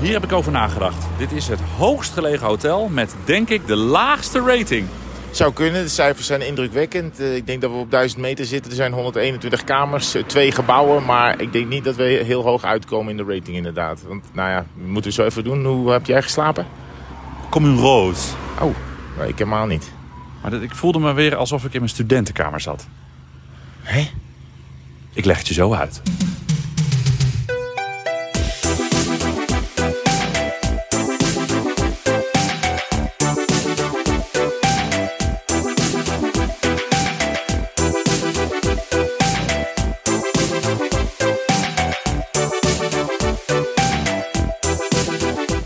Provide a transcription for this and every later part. Hier heb ik over nagedacht. Dit is het hoogst gelegen hotel met, denk ik, de laagste rating. Zou kunnen, de cijfers zijn indrukwekkend. Eh, Ik denk dat we op 1000 meter zitten. Er zijn 121 kamers, eh, twee gebouwen. Maar ik denk niet dat we heel hoog uitkomen in de rating inderdaad. Want nou ja, moeten we zo even doen. Hoe heb jij geslapen? Commune Rose. Oh, nou, ik helemaal niet. Maar dat, ik voelde me weer alsof ik in mijn studentenkamer zat. Hé? Ik leg het je zo uit.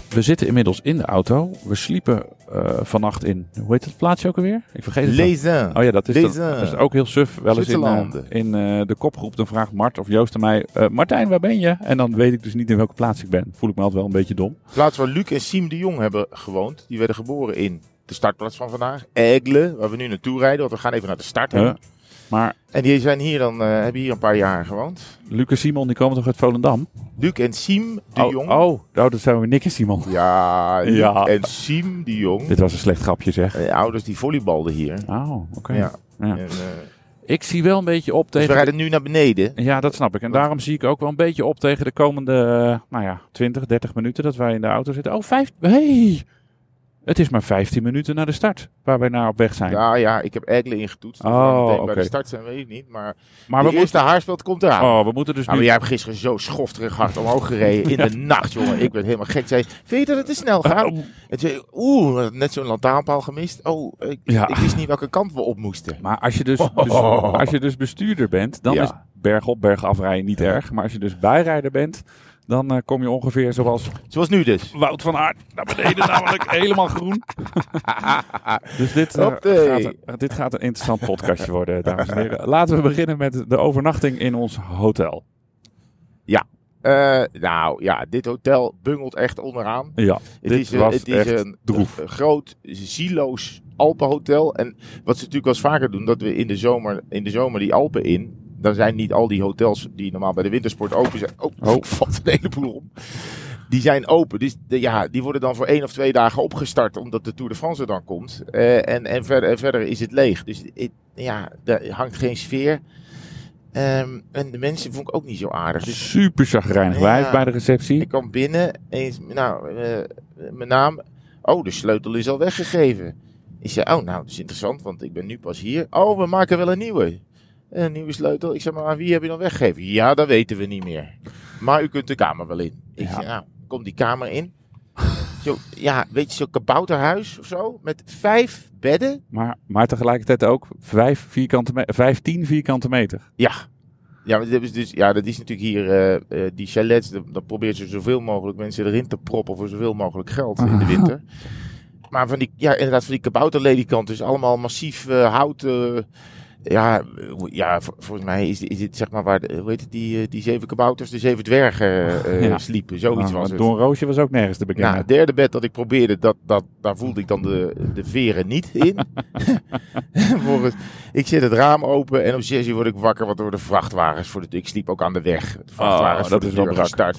We zitten inmiddels in de auto. We sliepen eh, vannacht in, hoe heet het plaatsje ook alweer? Ik vergeet het. dan. Lezen. Oh ja, dat is, dan, Deze. dat is ook heel suf. Wel eens in, eh, Zwitserland. in eh, de kopgroep, dan vraagt Mart of Joost aan mij... eh, Martijn, waar ben je? En dan weet ik dus niet in welke plaats ik ben. Voel ik me altijd wel een beetje dom. Plaats waar Luc en Siem de Jong hebben gewoond. Die werden geboren in de startplaats van vandaag. Egle, waar we nu naartoe rijden. Want we gaan even naar de start. hè. Huh? Maar En die zijn hier dan, eh, hebben hier een paar jaar gewoond. Luc en Simon, die komen toch uit Volendam? Luc en Siem de oh, Jong. oh, nou, dat zijn we Nick en Simon. Ja, Luc Ja. en Siem de Jong. Dit was een slecht grapje, zeg. Eh, ouders die volleybalden hier. Oh, oké. Ja. Ja. En, eh, Ik zie wel een beetje op dus we tegen... rijden nu naar beneden. Ja, dat snap ik. En daarom zie ik ook wel een beetje op tegen de komende, eh, nou ja, 20, 30 minuten dat wij in de auto zitten. Oh, vijf... Hey! Het is maar 15 minuten naar de start waar wij naar op weg zijn. Ja, ja, ik heb Egle ingetoetst. Dus Oh, waar we meteen Bij oké. de start zijn weet ik niet. Maar, maar de we eerste moeten... haarspeld komt eraan. Oh, we moeten dus Nou, nu... maar jij hebt gisteren zo schofterig hard omhoog gereden in de nacht, jongen. Ik ben helemaal gek. Zei, weet je dat het te snel gaat? Oh, En toen zei ik, oeh, net zo'n lantaarnpaal gemist. Oh, ik, Ja. ik wist niet welke kant we op moesten. Maar als je, dus, dus- als je dus bestuurder bent, dan Oh. Ja. is bergop, bergaf rijden niet erg. Maar als je dus bijrijder bent, dan eh, kom je ongeveer zoals Zoals nu dus. Wout van Aert naar beneden, namelijk helemaal groen. dus dit, eh, Hoppatee. gaat, een- dit gaat een interessant podcastje worden, dames en heren. Laten we beginnen met de overnachting in ons hotel. Eh, nou ja, dit hotel bungelt echt onderaan. Ja, Het dit is, een- was het is echt een droef. een groot, zieloos Alpenhotel. En wat ze natuurlijk wel eens vaker doen, dat we in de zomer, in de zomer die Alpen in. Dan zijn niet al die hotels die normaal bij de wintersport open zijn. Oh, Oh. valt een heleboel om. Die zijn open. Dus de- ja, die worden dan voor één of twee dagen opgestart. Omdat de Tour de France er dan komt. Eh, en, en, verder, en verder is het leeg. Dus het- ja, daar hangt geen sfeer. Ehm, en de mensen vond ik ook niet zo aardig. Dus super chagrijnig wijf Ja. bij de receptie. ik kwam binnen, eens, nou, eh, mijn naam. Oh, de sleutel is al weggegeven. Ik zei, oh, nou, dat is interessant, want ik ben nu pas hier. Oh, we maken wel een nieuwe. Een nieuwe sleutel. Ik zei, maar aan wie heb je dan weggegeven? Ja, dat weten we niet meer. Maar u kunt de kamer wel in. Ik Ja. zei, nou, kom die kamer in. Zo, ja, weet je, zo'n kabouterhuis of zo, met vijf bedden. Maar, maar tegelijkertijd ook vijf vierkante me- 15 vierkante meter. Ja. Ja, maar dit is dus, ja, dat is natuurlijk hier, eh, eh, die chalets, dan dan probeert ze zoveel mogelijk mensen erin te proppen voor zoveel mogelijk geld in de winter. Maar van die, ja, inderdaad, van die kabouterledikant, dus allemaal massief eh, hout. eh, ja, eh, ja, vol- volgens mij is, is dit zeg maar waar, de, hoe heet het, die, eh, die zeven kabouters, de zeven dwergen eh, eh, Ja. sliepen. Zoiets Nou, was het. Don Roosje was ook nergens te Nou, bekennen. het derde bed dat ik probeerde, dat, dat, daar voelde ik dan de, de veren niet in. Vervolgens, ik zet het raam open en om zes uur word ik wakker, want er worden vrachtwagens voor de Ik sliep ook aan de weg. De vrachtwagens Oh, voor dat de is wel deur brak. gestart.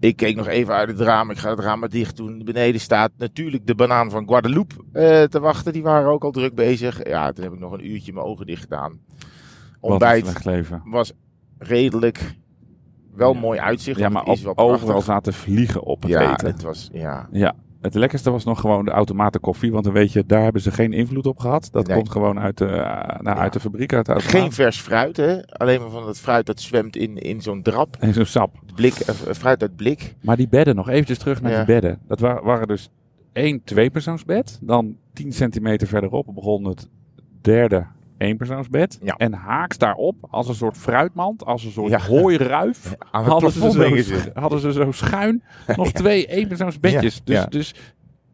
Ik keek nog even uit het raam. Ik ga het raam maar dicht doen. Beneden staat natuurlijk de banaan van Guadeloupe eh, te wachten. Die waren ook al druk bezig. Ja, toen heb ik nog een uurtje mijn ogen dicht gedaan. Wat een Ontbijt slecht leven. was redelijk wel Ja. mooi uitzicht. Ja, want maar het op, is wel prachtig. overal zaten vliegen op het ja, eten. het was, ja, Ja, het lekkerste was nog gewoon de automaten koffie. Want dan weet je, daar hebben ze geen invloed op gehad. Dat Nee. komt gewoon uit de, eh, nou, Ja. uit de fabriek, uit de automaat. Geen vers fruit, hè? Alleen maar van dat fruit dat zwemt in, in zo'n drap. En zo'n sap. Het Blik, eh, fruit uit blik. Maar die bedden, nog eventjes terug naar Ja. die bedden. Dat wa- waren dus één tweepersoonsbed. Dan 10 centimeter verderop begon het derde eenpersoonsbed. Ja. En haaks daarop, als een soort fruitmand, als een soort Ja. hooiruif, Aan hadden, ze plafond zo, hingen ze. hadden ze zo schuin nog twee eenpersoonsbedjes. Ja, Dus, ja. Dus,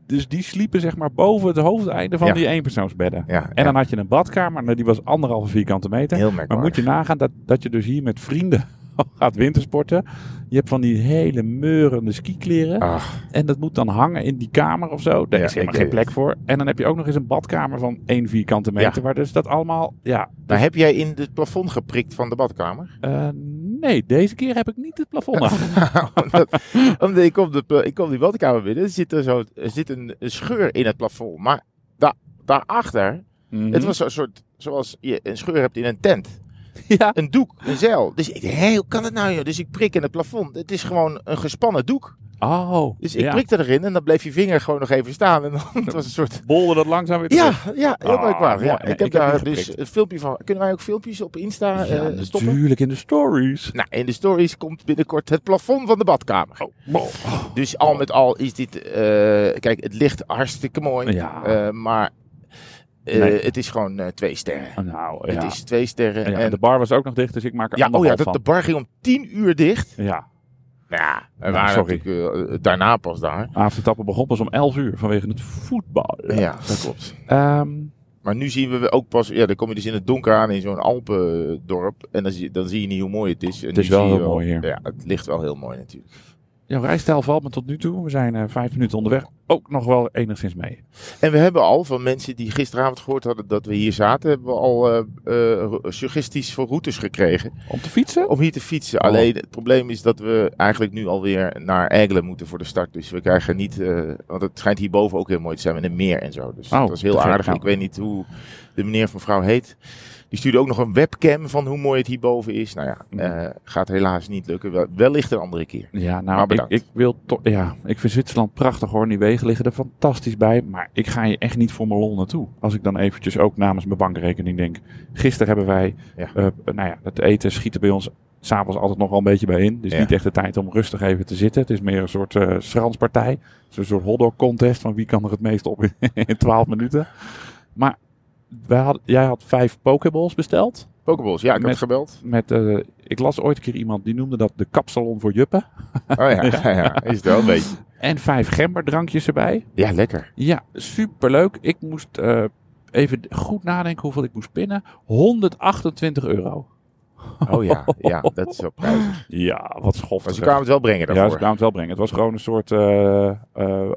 dus die sliepen zeg maar boven het hoofdeinde van Ja. die eenpersoonsbedden. Ja, En ja, dan had je een badkamer, nou, die was anderhalve vierkante meter. heel Maar moet merkwaardig. je nagaan dat, dat je dus hier met vrienden gaat wintersporten. Je hebt van die hele meurende skikleren. Ach, En dat moet dan hangen in die kamer of zo. Daar Ja, is helemaal ik geen weet plek voor. En dan heb je ook nog eens een badkamer van één vierkante meter. Ja. Waar dus dat allemaal... Ja, maar heb jij in het plafond geprikt van de badkamer? eh, nee, deze keer heb ik niet het plafond aan. omdat, omdat ik kom, de, pla- ik kom die badkamer binnen, zit er, zo, er zit een, een scheur in het plafond. Maar da, daarachter, Mhm. het was zo'n soort, zoals je een scheur hebt in een tent. ja. Een doek, een zeil. Dus ik dacht, hé, hoe kan dat nou joh? Dus ik prik in het plafond. Het is gewoon een gespannen doek. Oh, Dus ik ja. prikte erin en dan bleef je vinger gewoon nog even staan. En dan het was een soort... bolde dat langzaam weer Ja, terug. ja, heel Ah, merkwaardig. mooi. Ja, Nee, ik heb ik heb daar niet dus geprikt. een filmpje van. Kunnen wij ook filmpjes op Insta eh, stoppen? natuurlijk in de stories. Nou, in de stories komt binnenkort het plafond van de badkamer. Oh, Dus al met al is dit... eh, kijk, het ligt hartstikke mooi. oh, Ja. eh, maar eh, Nee. het is gewoon eh, twee sterren. Nou, ja. Het is twee sterren. Ja, en en, de bar was ook nog dicht, dus ik maak er ja, oh ja, anderhalf dat, de bar ging om tien uur dicht. van. Ja, Ja, we Nou, waren sorry. natuurlijk eh, daarna pas daar. avondtappen begon pas om 11 uur vanwege het voetbal. Ja, dat klopt. Ehm, Maar nu zien we ook pas, ja, dan kom je dus in het donker aan in zo'n Alpendorp. En dan zie, dan zie je niet hoe mooi het is. En Het is nu wel zie je heel mooi hier. Ja, het ligt wel heel mooi natuurlijk. jouw rijstijl valt me tot nu toe. We zijn eh, vijf minuten onderweg. Ook nog wel enigszins mee. En we hebben al van mensen die gisteravond gehoord hadden dat we hier zaten, hebben we al eh, eh, ro- suggesties voor routes gekregen Om te fietsen? om hier te fietsen. Oh. Alleen het probleem is dat we eigenlijk nu alweer naar Egelen moeten voor de start. Dus we krijgen niet, eh, want het schijnt hierboven ook heel mooi te zijn met een meer en zo. Dus Oh, dat was heel te gek, aardig. nou. Ik weet niet hoe de meneer of mevrouw heet. Die stuurde ook nog een webcam van hoe mooi het hierboven is. Nou ja, Mhm. eh, gaat helaas niet lukken. Wel- Wellicht een andere keer. Ja, Maar nou, ik, bedankt. ik wil toch. Ja, ik vind Zwitserland prachtig hoor. Die wegen liggen er fantastisch bij. Maar ik ga je echt niet voor mijn lol naartoe. Als ik dan eventjes ook namens mijn bankrekening denk. Gisteren hebben wij. Ja. eh, nou ja, het eten schieten bij ons. S'avonds altijd nog wel een beetje bij in. Dus Ja. niet echt de tijd om rustig even te zitten. Het is meer een soort eh schranspartij. Zo'n soort hotdog contest. Van wie kan er het meest op in 12 minuten. Maar wij had, jij had vijf pokeballs besteld. Pokeballs, ja, ik Met- heb gebeld. Met, eh, ik las ooit een keer iemand die noemde dat de kapsalon voor juppen. Oh ja, ja, ja, is het wel een beetje. En vijf gemberdrankjes erbij. Ja, lekker. Ja, superleuk. Ik moest eh, even goed nadenken hoeveel ik moest pinnen. 128 euro. Oh ja, ja, dat is wel prijzig. Ja, wat schof. Maar ze kwamen het wel brengen ja, ze daarvoor. kwamen het wel brengen. Het was gewoon een soort eh eh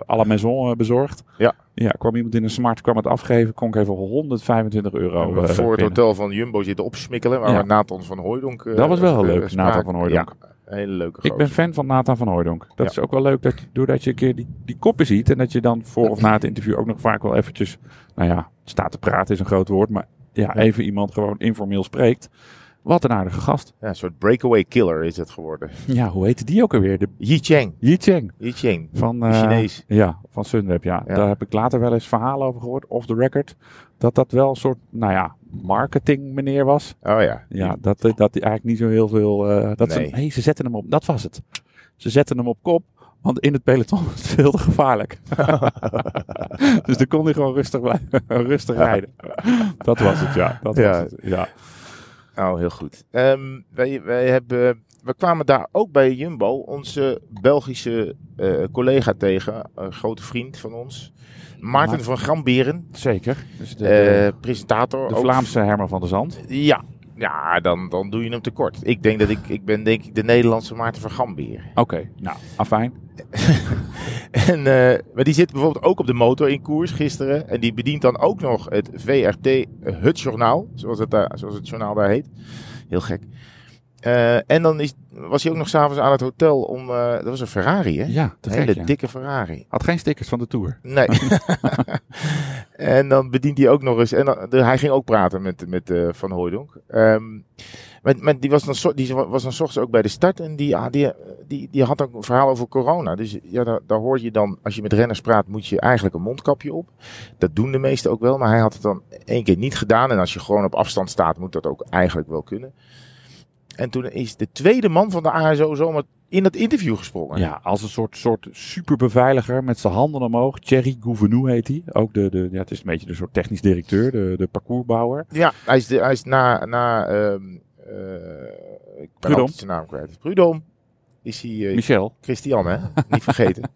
à la maison eh, bezorgd. Ja. Ja, kwam iemand in een smart, kwam het afgeven, kon ik even 125 euro We eh, voor het pinnen. hotel van Jumbo zitten opsmikkelen. Waar Ja. we Nathan van Hooijdonk... eh, Dat was wel heel eh, leuk, Nathan van Hooijdonk. Ja, een hele leuke Ik ben gozer. fan van Nathan van Hooijdonk. Dat Ja. is ook wel leuk, dat, doordat je een keer die, die koppen ziet... en dat je dan voor of na het interview ook nog vaak wel eventjes... nou ja, staat te praten is een groot woord... maar ja, even iemand gewoon informeel spreekt. Wat een aardige gast. Ja, een soort breakaway killer is het geworden. Ja, hoe heette die ook alweer? De Yi Cheng. Yi Cheng Yi Cheng. van... De eh, Chinees. Ja, van Sunweb, ja. Ja. Daar heb ik later wel eens verhalen over gehoord, off the record. Dat dat wel een soort, nou ja, marketing meneer was. Oh ja. Ja, dat, dat hij eigenlijk niet zo heel veel... eh, dat ze, Nee. hey, ze zetten hem op, dat was het. Ze zetten hem op kop, want in het peloton is het veel te gevaarlijk. dus dan kon hij gewoon rustig, blijven, rustig rijden. Dat was het, ja. Dat Ja. was het, ja. Oh, heel goed. Ehm, wij, wij hebben... We kwamen daar ook bij Jumbo onze Belgische eh, collega tegen, een grote vriend van ons, Maarten Maarten. van Gramberen, Zeker. Dus de, eh, presentator. de ook- Vlaamse Herman van der Zand. Ja, ja dan, dan doe je hem tekort. Ik denk dat ik, ik ben denk ik de Nederlandse Maarten van Gambeer. Oké, nou, afijn. En, eh, maar die zit bijvoorbeeld ook op de motor in koers gisteren. En die bedient dan ook nog het VRT eh, Het Journaal, zoals het, daar, zoals het journaal daar heet. Heel gek. Eh, en dan is, was hij ook nog s'avonds aan het hotel om... eh, dat was een Ferrari, hè? Ja, te een gek, hele ja. dikke Ferrari. Had geen stickers van de Tour. Nee. en dan bedient hij ook nog eens. En dan, de- hij ging ook praten met, met eh, Van Hooijdonk. Ehm, maar, maar die was dan, zo- die was dan 's ochtends ook bij de start. En die, ah, die, die, die had ook een verhaal over corona. Dus ja, daar, daar hoor je dan, als je met renners praat, moet je eigenlijk een mondkapje op. Dat doen de meesten ook wel. Maar hij had het dan één keer niet gedaan. En als je gewoon op afstand staat, moet dat ook eigenlijk wel kunnen. En toen is de tweede man van de ASO zomaar in dat interview gesprongen. Ja, als een soort, soort superbeveiliger met zijn handen omhoog. Thierry Gouvenou heet hij. Ook de, de, ja, het is een beetje de soort technisch directeur, de, de parcoursbouwer. Ja, hij is, de, hij is na. na ehm, eh, ik ben Prudhomme. altijd zijn naam kwijt. Prudom. Is hij. eh, Michel. Christian, hè? Niet vergeten.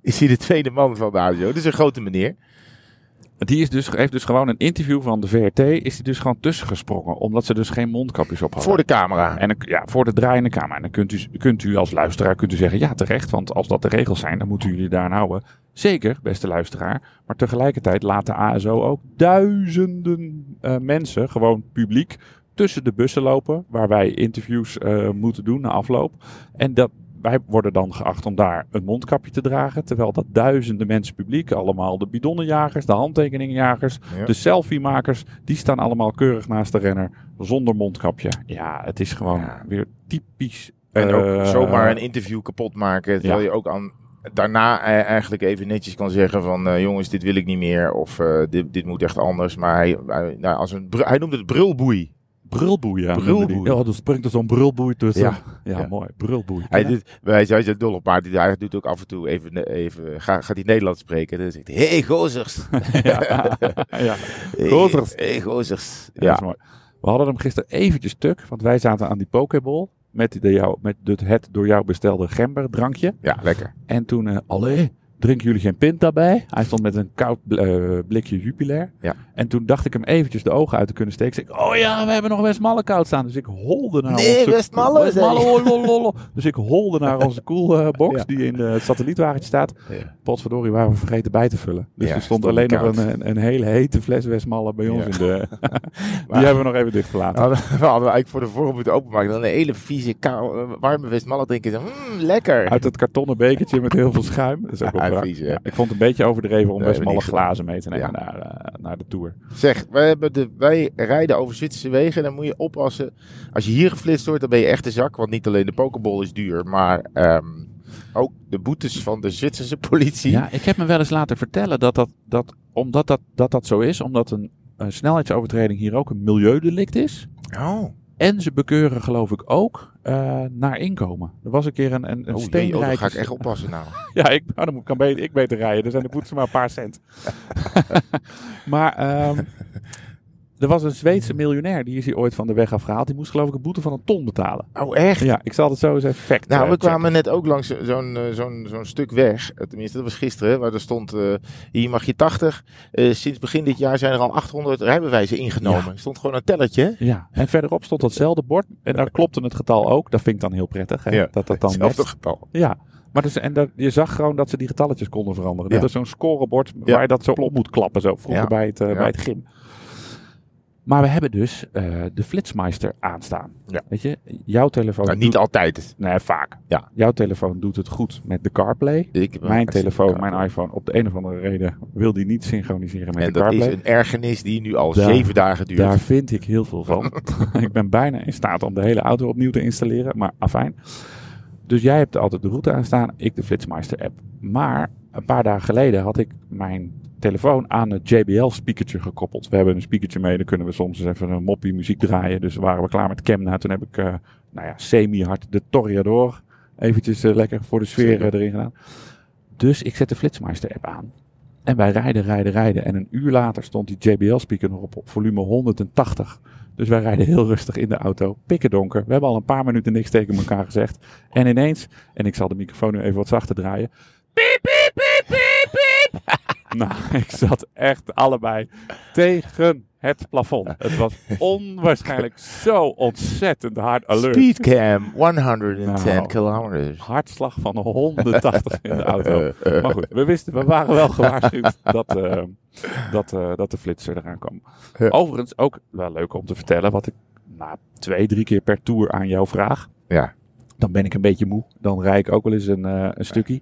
is hij de tweede man van de ADO? Dit is een grote meneer. Die is dus, heeft dus gewoon een interview van de VRT. Is die dus gewoon tussensprongen Omdat ze dus geen mondkapjes op hadden. Voor de camera. En dan- ja, voor de draaiende kamer. En dan kunt u, kunt u als luisteraar kunt u zeggen, ja terecht, want als dat de regels zijn, dan moeten jullie daaraan houden. Zeker, beste luisteraar. Maar tegelijkertijd laat de ASO ook duizenden eh, mensen, gewoon publiek, tussen de bussen lopen, waar wij interviews eh, moeten doen na afloop. En dat, wij worden dan geacht om daar een mondkapje te dragen, terwijl dat duizenden mensen publiek, allemaal de bidonnenjagers, de handtekeningjagers, Ja. de selfiemakers, die staan allemaal keurig naast de renner zonder mondkapje. Ja, het is gewoon Ja. weer typisch. En ook eh, zomaar een interview kapot maken. Terwijl ja. je ook aan, daarna eh, eigenlijk even netjes kan zeggen van... eh, jongens, dit wil ik niet meer. Of eh, dit, dit moet echt anders. Maar hij, hij, nou, als een, br- hij noemde het brulboei. Brulboei. Ja, Brulboei. noemen die. Ja, dan springt er zo'n brulboei tussen. Ja, Ja. ja, Ja. mooi. Brulboei. Hij, dit, hij, hij is er dol op, maar hij- hij doet ook af en toe even... even ga- gaat hij Nederlands spreken. En dan zegt hij, hey, gozers. ja. ja. Hey, Gozers. Hey, gozers. Ja, dat Ja, is mooi. We hadden hem gisteren eventjes stuk, want wij zaten aan die pokeball met, de jou, met het, het door jou bestelde gemberdrankje. ja lekker. En toen, eh allee, drinken jullie geen pint daarbij? Hij stond met een koud bl- eh, blikje Jupiler. Ja. En toen dacht ik hem eventjes de ogen uit te kunnen steken. Zeg ik, oh ja, we hebben nog Westmalle koud staan. Dus ik holde naar Nee, onze... Westmalle, Westmalle, zeg. oh, lol, lol, lol. Dus ik holde naar onze koelbox box Ja. die in de, het satellietwagentje staat. Ja. Potverdorie waren we vergeten bij te vullen. Dus Ja, er stond stond alleen nog koud. een, een, een hele hete fles Westmalle bij ons Ja. in de... Die hebben we nog even dichtgelaten. Nou, dan hadden we eigenlijk voor de vorm moeten openmaken. Dan een hele vieze, kou, eh, warme Westmalle drinken. Zo, Mm, lekker. Uit het kartonnen bekertje met heel veel schuim. Dat is ook wel Ja, raar. vies, hè? Ja, ik vond het een beetje overdreven om Nee, best we malle niks gedaan. glazen mee te nemen Ja. naar, eh, naar de tour. Zeg, wij, hebben de, wij rijden over Zwitserse wegen. Dan moet je oppassen. Als je hier geflitst wordt, dan ben je echt de zak. Want niet alleen de pokeball is duur, maar ehm, ook de boetes van de Zwitserse politie. Ja, ik heb me wel eens laten vertellen dat dat, dat omdat dat, dat, dat zo is, omdat een, een snelheidsovertreding hier ook een milieudelict is. Oh. En ze bekeuren geloof ik ook eh, naar inkomen. Er was een keer een, een, een Oh, jee, oh, steenrijke- dan ga ik echt oppassen nou. Ja, ik, nou, dan moet- kan beter, ik beter rijden. dus Dan zijn de boetes maar een paar cent. maar ehm, er was een Zweedse miljonair, die is hier ooit van de weg afgehaald. Die moest geloof ik een boete van een ton betalen. Oh, echt? Ja, ik zal het zo eens even fact Nou, eh, we checken. kwamen net ook langs zo'n eh, zo'n zo'n stuk weg. Eh, Tenminste, dat was gisteren. Waar er stond, eh, hier mag je 80. Eh, sinds begin dit jaar zijn er al 800 rijbewijzen ingenomen. Er stond gewoon een tellertje. hè? Ja, en verderop stond datzelfde bord. En daar klopte het getal ook. Dat vind ik dan heel prettig. Hè? Ja, dat dat dan Hetzelfde matcht. getal. Ja, maar dus, en dat, je zag gewoon dat ze die getalletjes konden veranderen. Dat Ja. is zo'n scorebord Ja. waar je dat zo op moet klappen. Zo vroeger Ja. bij, het, eh, Ja. bij het gym. Maar we hebben dus eh, de flitsmeister aanstaan. Ja. Weet je, jouw telefoon... Nou, niet doet- altijd. Nee, vaak. Ja. Jouw telefoon doet het goed met de CarPlay. Ik heb een Mijn telefoon, hartstikke- mijn iPhone, op de een of andere reden wil die niet synchroniseren met En de dat CarPlay. is een ergernis die nu al Daar- zeven dagen duurt. Daar vind ik heel veel van. ik ben bijna in staat om de hele auto opnieuw te installeren, maar afijn. Dus jij hebt altijd de route aanstaan, ik de Flitsmeister app. Maar een paar dagen geleden had ik mijn telefoon aan het JBL speakertje gekoppeld. We hebben een speakertje mee, dan kunnen we soms eens even een moppie muziek draaien. Dus waren we klaar met Kemna. Toen heb ik, eh, nou ja, semi-hard de Toriador eventjes eh, lekker voor de sfeer eh, erin gedaan. Dus ik zet de Flitsmeister app aan. En wij rijden, rijden, rijden. En een uur later stond die JBL-speaker nog op, op volume 180. Dus wij rijden heel rustig in de auto, pikken donker. We hebben al een paar minuten niks tegen elkaar gezegd. En ineens, en ik zal de microfoon nu even wat zachter draaien. Piep, piep, piep, piep, piep. nou, ik zat echt allebei tegen het plafond. Het was onwaarschijnlijk zo ontzettend hard alert. Speedcam 110 Nou. kilometers. Hartslag van 180 in de Eh, auto. Maar goed, we wisten, we waren wel gewaarschuwd dat, eh, dat, eh, dat de flitser eraan kwam. Ja. Overigens ook wel leuk om te vertellen wat ik na twee, drie keer per tour aan jou vraag. Ja. Dan ben ik een beetje moe. Dan rijd ik ook wel eens een, eh, een stukje.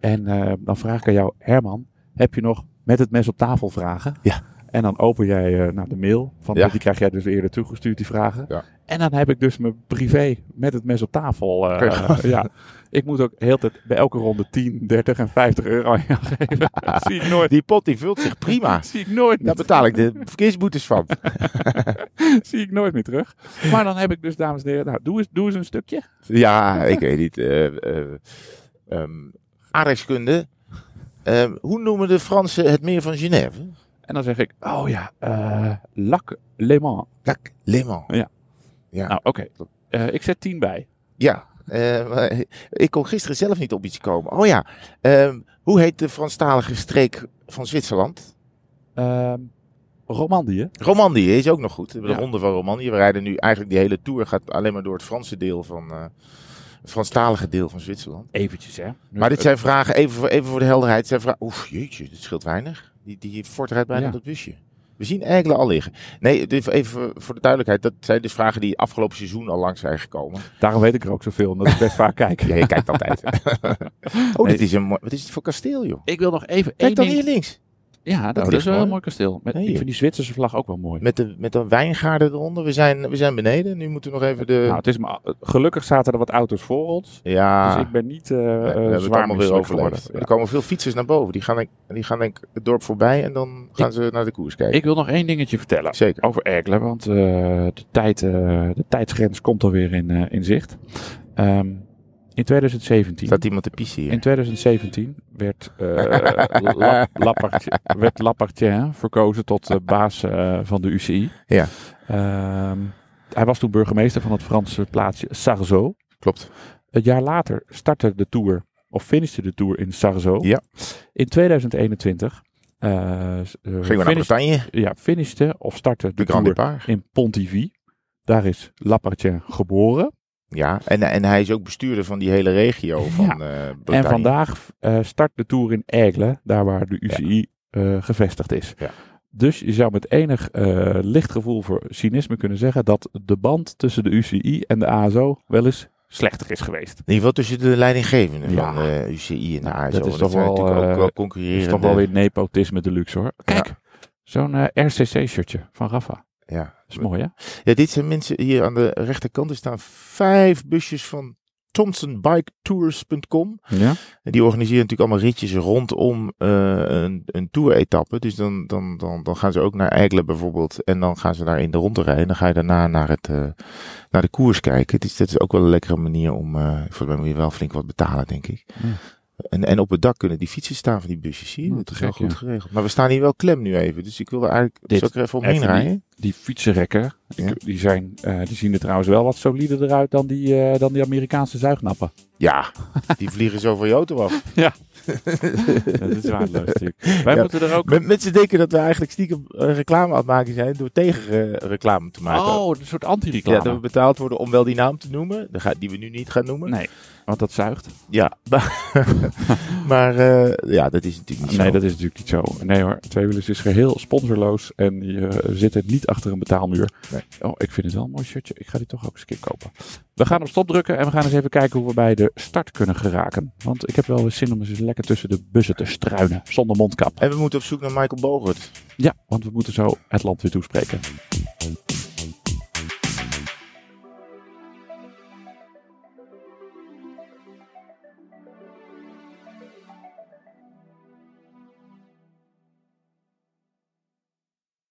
En eh, dan vraag ik aan jou, Herman, heb je nog met het mes op tafel vragen? Ja. En dan open jij eh, nou, de mail. Van, Ja. Die krijg jij dus eerder toegestuurd, die vragen. Ja. En dan heb ik dus mijn privé met het mes op tafel. eh, Kijk. eh, ja. Ik moet ook heel tijd bij elke ronde 10, 30 en 50 euro aan jou geven. Dat zie ik nooit. Die pot die vult zich prima. Dat zie ik nooit Daar meer, betaal ik de verkeersboetes van. zie ik nooit meer terug. Maar dan heb ik dus, dames en heren, nou, doe, eens, doe eens een stukje. Ja, ik weet niet. eh eh ehm, aardrijkskunde. Ehm, hoe noemen de Fransen het meer van Genève? En dan zeg ik, oh ja, eh Lac Le Mans. Lac Le Mans. Nou, oké. Eh, ik zet 10 bij. Ja. eh, maar ik kon gisteren zelf niet op iets komen. Oh ja. ehm, hoe heet de Franstalige streek van Zwitserland? Ehm Romandie. Romandie is ook nog goed. De Ja. ronde van Romandie. We rijden nu eigenlijk die hele tour gaat alleen maar door het Franse deel van eh, het Franstalige deel van Zwitserland. Eventjes, hè. Maar dit zijn vragen even voor, even voor de helderheid. Zijn vragen. Oef, jeetje, dit scheelt weinig. Die, die Ford rijdt bijna Ja. dat busje. We zien Ergelen al liggen. Nee, dit even voor de duidelijkheid. Dat zijn dus vragen die afgelopen seizoen al langs zijn gekomen. Daarom weet ik er ook zoveel, omdat ik best vaak kijk. Ja, je kijkt altijd. oh, dit is een mooi... Wat is het voor kasteel, joh? Ik wil nog even één Kijk dan ding... hier links. Ja, dat, Oh, ligt is wel een mooi. heel mooi kasteel. Met, Nee, ik joh. vind die Zwitserse vlag ook wel mooi. Met de, met een wijngaarden eronder. We zijn, we zijn beneden. Nu moeten we nog even de... Nou, het is maar, gelukkig zaten er wat auto's voor ons. ja. Dus ik ben niet eh Nee, we eh, hebben het zwaar allemaal weer misselijk overleefd. geworden. Er komen veel fietsers naar boven. Die gaan, denk, die gaan denk ik het dorp voorbij en dan gaan ze naar de koers kijken. Ik wil nog één dingetje vertellen. Zeker. Over Erkelen, want eh, de, tijd, eh, de tijdsgrens komt alweer in, eh, in zicht. Ehm, in 2017. Staat iemand te pissen In hier? 2017 werd, eh La- Lappertje, werd Lappertien verkozen tot eh, baas eh, van de UCI. Ja. Ehm, hij was toen burgemeester van het Franse plaatsje Sarzeau. Klopt. Een jaar later startte de tour, of finishte de tour in Sarzeau. Ja. In 2021 eh s- eh, Gingen we naar finish- Bretagne? ja, finishte of startte de, De Grand tour Départ. in Pontivy. Daar is Lappertje geboren. Ja, en, en hij is ook bestuurder van die hele regio van Ja. eh Bretagne. En vandaag eh, start de tour in Aigle, daar waar de UCI eh, gevestigd is. Ja. Dus je zou met enig eh, licht gevoel voor cynisme kunnen zeggen dat de band tussen de UCI en de ASO wel eens slechter is geweest. In ieder geval tussen de leidinggevende Ja. van eh, de UCI en de ASO. Dat is toch zijn wel, natuurlijk ook eh, wel Dat is concurrerende. toch wel weer nepotisme deluxe hoor. Kijk, Ja. zo'n eh, RCC-shirtje van Rafa. Dat Ja. is mooi hè? ja, dit zijn mensen hier aan de rechterkant. Er staan vijf busjes van thompsonbiketours.com. Ja. En Die organiseren natuurlijk allemaal ritjes rondom eh, een, een tour-etappe. Dus dan, dan, dan, dan gaan ze ook naar Eikelen bijvoorbeeld. En dan gaan ze daar in de ronde rijden. En dan ga je daarna naar, het, eh, naar de koers kijken. Het is, dat is ook wel een lekkere manier om... eh volgens mij moet je wel flink wat betalen, denk ik. Ja. En, en op het dak kunnen die fietsen staan van die busjes. Zie je? Nou, dat te is wel gek, goed ja. geregeld. Maar we staan hier wel klem nu even. Dus ik wil er eigenlijk... Dit Zal ik er even even omheen niet. rijden? Die fietsenrekken, die, Ja. die, zijn, eh, die zien er trouwens wel wat solider eruit dan die, eh, dan die Amerikaanse zuignappen. Ja, die vliegen zo van je auto af. dat is waardeloos natuurlijk. Wij Ja. moeten er ook... Men- Mensen denken dat we eigenlijk stiekem eh, reclame aan het maken zijn... door tegen eh, reclame te maken. Oh, een soort Ja, anti-reclame. dat we betaald worden om wel die naam te noemen. de ga- Die we nu niet gaan noemen. Nee, want dat zuigt. Ja, maar, maar, eh, ja, dat is natuurlijk niet Nee, zo. dat is natuurlijk niet zo. Nee hoor, Tweewielers is geheel sponsorloos en je eh, zit er niet achter een betaalmuur. Nee. Oh, ik vind het wel een mooi shirtje. Ik ga die toch ook eens een keer kopen. We gaan op stop drukken en we gaan eens even kijken hoe we bij de start kunnen geraken. Want ik heb wel eens zin om eens lekker tussen de bussen te struinen, zonder mondkap. En we moeten op zoek naar Michael Bogert. Ja, want we moeten zo het land weer toespreken.